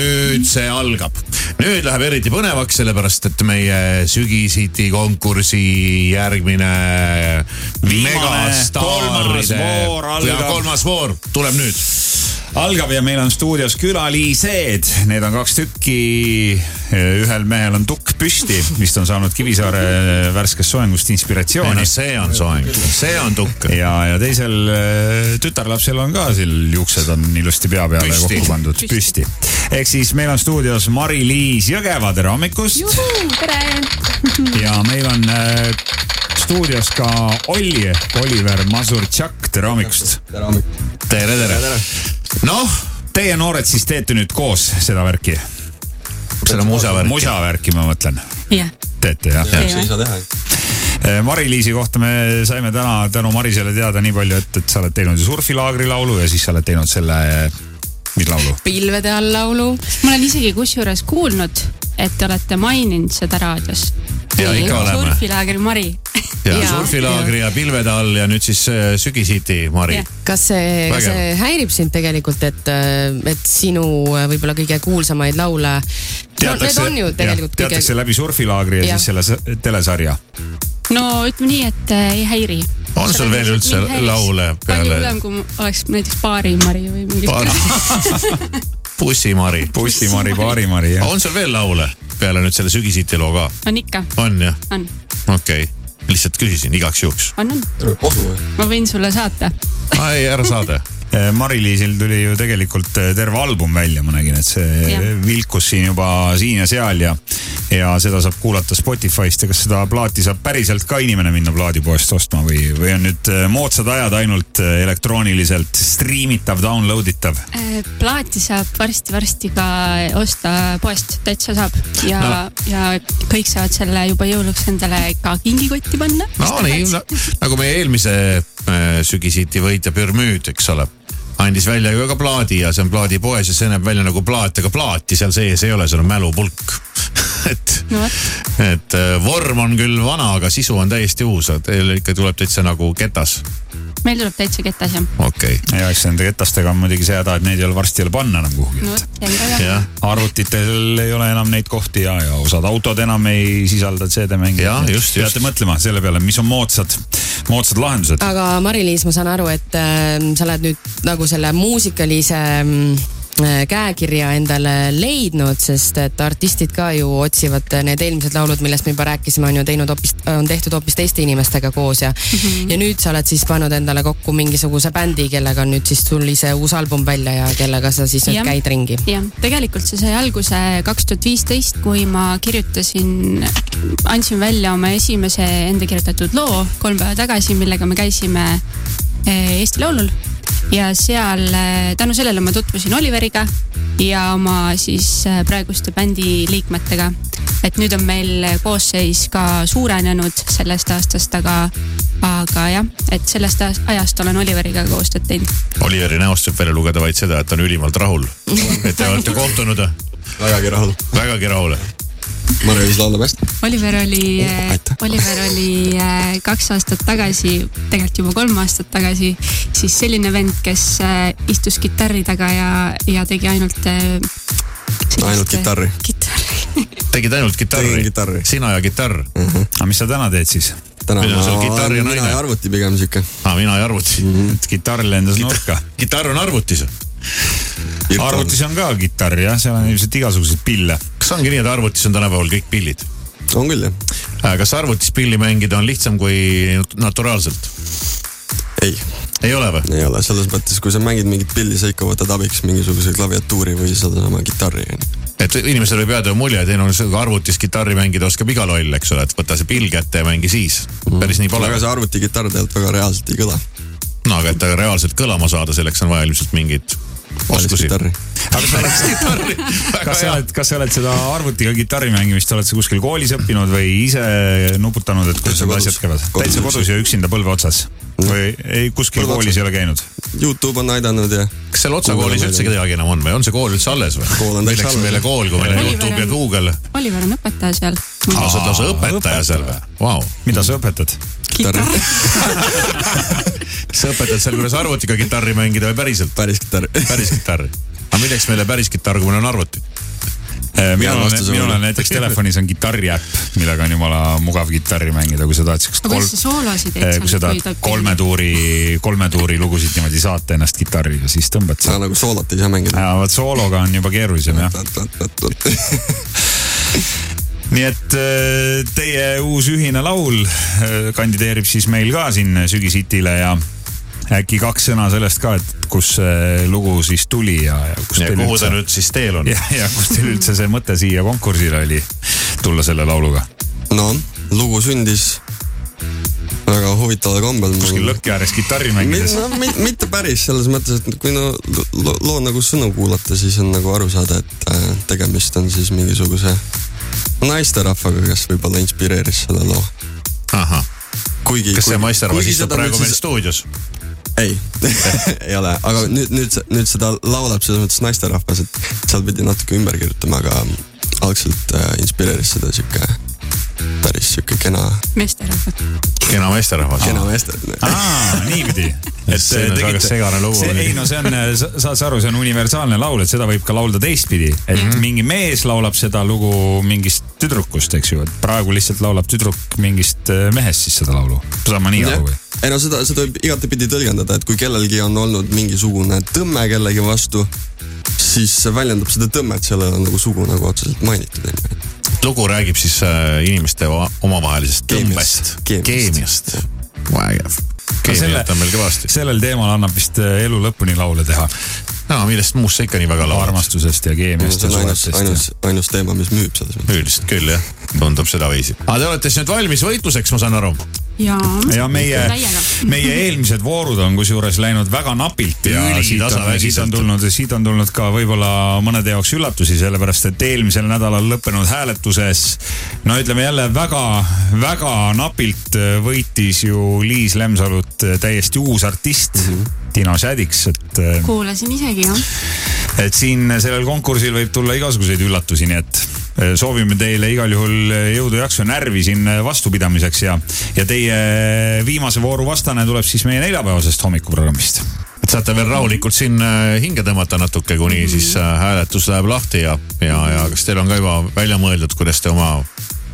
nüüd see algab , nüüd läheb eriti põnevaks , sellepärast et meie sügisiti konkursi järgmine Viimane, kolmas megastaaride voor ja algab. kolmas voor tuleb nüüd . algab ja meil on stuudios külaliiseed , need on kaks tükki . ühel mehel on tukk püsti , vist on saanud Kivisaare värskest soengust inspiratsiooni no see on soeng , see on tukk . ja , ja teisel äh, tütarlapsel on ka seal juuksed on ilusti pea peale Püsti. kokku pandud , püsti . ehk siis meil on stuudios Mari-Liis Jõgeva , tere hommikust Juhu. tere , ja meil on äh, stuudios ka Olli , Oliver Masurtšak , tere hommikust . tere , tere . noh , Teie noored siis teete nüüd koos seda värki , seda musavärk . musa värki , ma mõtlen , jah , teete jah ja. ? Teeme. ei saa teha . Mari-Liisi kohta me saime täna tänu Marisele teada nii palju , et , et sa oled teinud surfilaagri laulu ja siis sa oled teinud selle , mis laulu ? pilvede all laulu , ma olen isegi kusjuures kuulnud , et te olete maininud seda raadios . ja ikka oleme . surfilaagri Mari . ja surfilaagri ja pilvede all ja nüüd siis äh, sügisiti , Mari Jah. . kas see , kas Vägev. see häirib sind tegelikult , et , et sinu äh, võib-olla kõige kuulsamaid laule no, , need on ju tegelikult kõige teatakse , läbi surfilaagri ja, ja Jah. siis selle s- telesarja . no ütleme nii , et äh, ei häiri . On sul veel üldse laule palju peale- hullem , kui mu- oleks näiteks Baari Mari või mingi Baari- . bussi , Mari . bussimari , baarimari jah . on sul veel laule peale nüüd selle sügisiti loo ka ? on ikka , on jah ? on , okei okay. , lihtsalt küsisin igaks juhuks . on , on , kodu . ma võin sulle saata . ei , ära saada . Äh, Mari-Liisil tuli ju tegelikult eh, terve album välja , ma nägin , et see ja. Jah. vilkus siin juba siin ja seal ja , ja seda saab kuulata Spotify'st ja kas seda plaati saab päriselt ka inimene minna plaadipoest ostma või , või on nüüd eh, moodsad ajad ainult eh, elektrooniliselt striimitav , download itav ? Eh, plaati saab varsti-varsti ka osta poest , täitsa saab ja no. , ja kõik saavad selle juba jõuluks endale ka kingikotti panna . no nii , nagu meie eelmise äh, sügisiti võitja Pürmüüt , eks ole , andis välja ju ka plaadi ja see on plaadipoes ja see näeb välja nagu plaat , aga plaati seal sees ei ole , seal on mälupulk . et , no vot , et äh, vorm on küll vana , aga sisu on täiesti uus , teil ikka tuleb täitsa nagu ketas , meil tuleb täitsa ketas jah . okei okay. ja eks nende ketastega on muidugi see häda , et neid ei ole varsti jälle panna enam kuhugi . no vot , jäi ka jah . jah , arvutitel ei ole enam neid kohti ja , ja osad autod enam ei sisalda CD-mänge . Jaa, just, just. peate mõtlema selle peale , mis on moodsad , moodsad lahendused . aga Mari-Liis , ma saan aru , et äh, sa oled nüüd nagu selle muusikalise mm, äh, käekirja endale leidnud , sest et artistid ka ju otsivad äh, need eelmised laulud , millest me juba rääkisime , on ju teinud hoopis , on tehtud hoopis teiste inimestega koos ja mm , -hmm. ja nüüd sa oled siis pannud endale kokku mingisuguse bändi , kellega on nüüd siis sul ise uus album välja ja kellega sa siis nüüd Jah. käid ringi . jah , tegelikult see sai alguse kaks tuhat viisteist , kui ma kirjutasin , andsin välja oma esimese enda kirjutatud loo kolm päeva tagasi , millega me käisime eh, Eesti Laulul . ja seal eh, tänu sellele ma tutvusin Oliveriga ja oma siis eh, praeguste bändi liikmetega . et nüüd on meil koosseis ka suurenenud sellest aastast , aga , aga jah , et sellest aast- ajast olen Oliveriga koostööd teinud . Oliveri näost võib välja lugeda vaid seda , et ta on ülimalt rahul , et te olete kohtunud , vägagi rahul . vägagi rahul Mari-Liis laulab hästi . Oliver oli Oh, aitäh. , Oliver oli äh, kaks aastat tagasi , tegelikult juba kolm aastat tagasi , siis selline vend , kes äh, istus kitarri taga ja , ja tegi ainult . Ainult kitarri. . kitarri . tegid ainult kitarri Tegin ? kitarri. Mhm. sina ja kitarr mm. . aga mis sa täna teed siis ? täna Millal sul ma kitarr ja olen naine? mina ja arvuti pigem sihuke Ah, mina ja arvuti mm . Mhm. et kitarr lendas nurka . -hmm. kitarr on arvutis . virtuaalne. arvutis on ka kitarr jah , seal on ilmselt igasuguseid pille . kas ongi nii , et arvutis on tänapäeval kõik pillid ? on küll jah ? kas arvutis pilli mängida on lihtsam kui naturaalselt ? ei , ei ole või ? ei ole , selles mõttes , kui sa mängid mingit pilli , sa ikka võtad abiks mingisuguse klaviatuuri või sedasama kitarri . et inimesel võib jääda ju mulje , et ei no see arvutis kitarri mängida oskab iga loll , eks ole , et võta see pill kätte ja mängi siis . päris nii pole aga . see arvutikitarr tegelikult väga reaalselt ei kõla . no aga , et ta reaalselt kõlama saada , selleks on vaja ilmselt mingeid oskusi . aga sa oled , kas sa oled , kas sa oled seda arvutiga kitarri mängimist , oled sa kuskil koolis õppinud või ise nuputanud , et kuidas Täitsa need kodus. asjad käivad ? Kodus täitsa kodus ja üksinda põlve otsas või ei , kuskil Põlve koolis otsas. ei ole käinud ? Youtube on aidanud ja kas seal Otsa koolis üldse kedagi enam on või on see kool üldse alles või ? Kool on täitsa milleks alles. meile kool , kui meil on Oliver Youtube ja on- Google ? Oliver on õpetaja seal . aa , sa oled lausa õpetaja õpetaja. seal või ? Vau . mida sa õpetad ? kitarri , sa õpetad seal , kuidas arvutiga kitarri mängida või päriselt ? päris kitarri . päris kitarri ? aga milleks meile päris kitarrkumine on arvuti ? Äh, minul Hea on vastus , minul on oli. näiteks telefonis on kitarri äpp , millega on jumala mugav kitarri mängida , kui sa tahad siukest aga kuidas sa soolasid Eh, kui sa tahad kolme tuuri , kolme tuuri lugusid niimoodi saata ennast kitarriga , siis tõmbad sa seda . nagu soolot ei saa mängida . vot soologa on juba keerulisem jah . nii et eh, teie uus ühine laul eh, kandideerib siis meil ka siin sügishitile ja äkki kaks sõna sellest ka , et kus see lugu siis tuli ja , ja kus ja teil kuhu ta üldse , nüüd siis teel on ? ja , ja kus teil üldse see mõte siia konkursile oli tulla selle lauluga . no lugu sündis väga huvitaval kombel . Mm. kuskil lõkke ääres kitarri mängides . no, mi- mitte päris selles mõttes , et kui no lo, loo nagu sõnu kuulata , siis on nagu aru saada , et äh, tegemist on siis mingisuguse naisterahvaga , kes võib-olla inspireeris selle loo . ahah , kuigi . kas see naisterahvas istub praegu meil stuudios ? ei , ei ole , aga nüüd , nüüd , nüüd seda laulab selles mõttes naisterahvas , et seal pidi natuke ümber kirjutama , aga ähm, algselt äh, inspireeris seda sihuke , päris sihuke kena , meesterahvad . kena meesterahvas . kena meesterahvas . aa , niipidi . et See on väga segane lugu see, oli. ei no see on , saad sa aru , see on universaalne laul , et seda võib ka laulda teistpidi . et Mhm. mm -hmm. mingi mees laulab seda lugu mingist tüdrukust , eks ju , et praegu lihtsalt laulab tüdruk mingist äh, mehest siis seda laulu . saan ma nii Jah. aru või ? ei no seda , seda võib igatepidi tõlgendada , et kui kellelgi on olnud mingisugune tõmme kellegi vastu , siis see väljendab seda tõmmet , seal ei ole nagu sugu nagu otseselt mainitud , on ju . lugu räägib siis äh, inimeste va- omavahelisest tõmbest Keemiast. , Keemiast. keemiast . vägev . keemiat on meil kõvasti . sellel teemal annab vist äh, elu lõpuni laule teha . no millest muust sa ikka nii väga laulad ? armastusest ja keemiast see ja on ainus , suhetest ja ainus , ainus teema , mis müüb selles mõttes . üldiselt küll jah , tundub sedaviisi . aga te olete siis nüüd valmis võitluseks , ma saan aru . jaa . ja meie Täiega. , meie eelmised voorud on kusjuures läinud väga napilt ja Üli siit on, tasavägiselt. siit on tulnud , siit on tulnud ka võib-olla mõnede jaoks üllatusi , sellepärast et eelmisel nädalal lõppenud hääletuses no ütleme jälle väga-väga napilt võitis ju Liis Lemsalut täiesti uus artist mm . -hmm. Dino Sädiks , et , kuulasin isegi jah . et siin sellel konkursil võib tulla igasuguseid üllatusi , nii et eh, soovime teile igal juhul eh, jõudu , jaksu ja närvi siin eh, vastupidamiseks ja , ja teie viimase vooru vastane tuleb siis meie neljapäevasest hommikuprogrammist . et saate veel rahulikult siin äh, hinge tõmmata natuke , kuni Mhm. siis äh, hääletus läheb lahti ja , ja , ja kas teil on ka juba välja mõeldud , kuidas te oma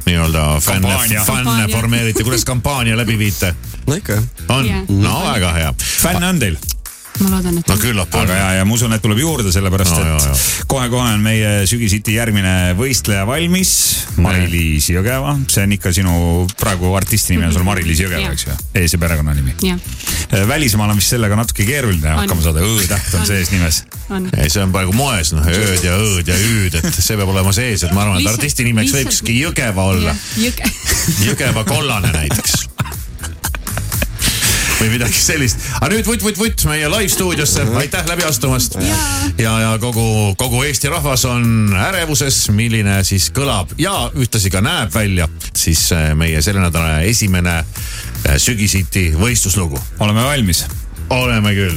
nii-öelda fänne Kampaania. , fänne Kampaania. formeerite , kuidas kampaania läbi viite ? Ah, no ikka jah . on Jah. , no väga hea . fänne on teil ? ma loodan , et no . küllap on aga . ja , ja ma usun , et tuleb juurde , sellepärast ah. No, no, jaa, jaa. et kohe-kohe on meie Sügishiti järgmine võistleja valmis . Mari-Liis Jõgeva , see on ikka sinu praegu artisti nimi on sul Mari-Liis Jõgeva , Jah. eks ju , ees- ja perekonnanimi . jah , Äh, välismaal on vist sellega natuke keeruline On. hakkama saada , Õ-täht on sees nimes on . ei , see on praegu moes , noh , ööd ja õõd ja üüd , et see peab olema sees , et ma arvan , et Lihtsalt- artisti nimeks lihtsalt- võikski Jõgeva olla , jõge . Jõgeva kollane näiteks või midagi sellist , aga nüüd vutt-vutt-vutt meie live stuudiosse , aitäh läbi astumast . ja , ja kogu , kogu Eesti rahvas on ärevuses , milline siis kõlab ja ühtlasi ka näeb välja siis äh, meie selle nädala esimene äh, sügisiti võistluslugu . oleme valmis oleme küll .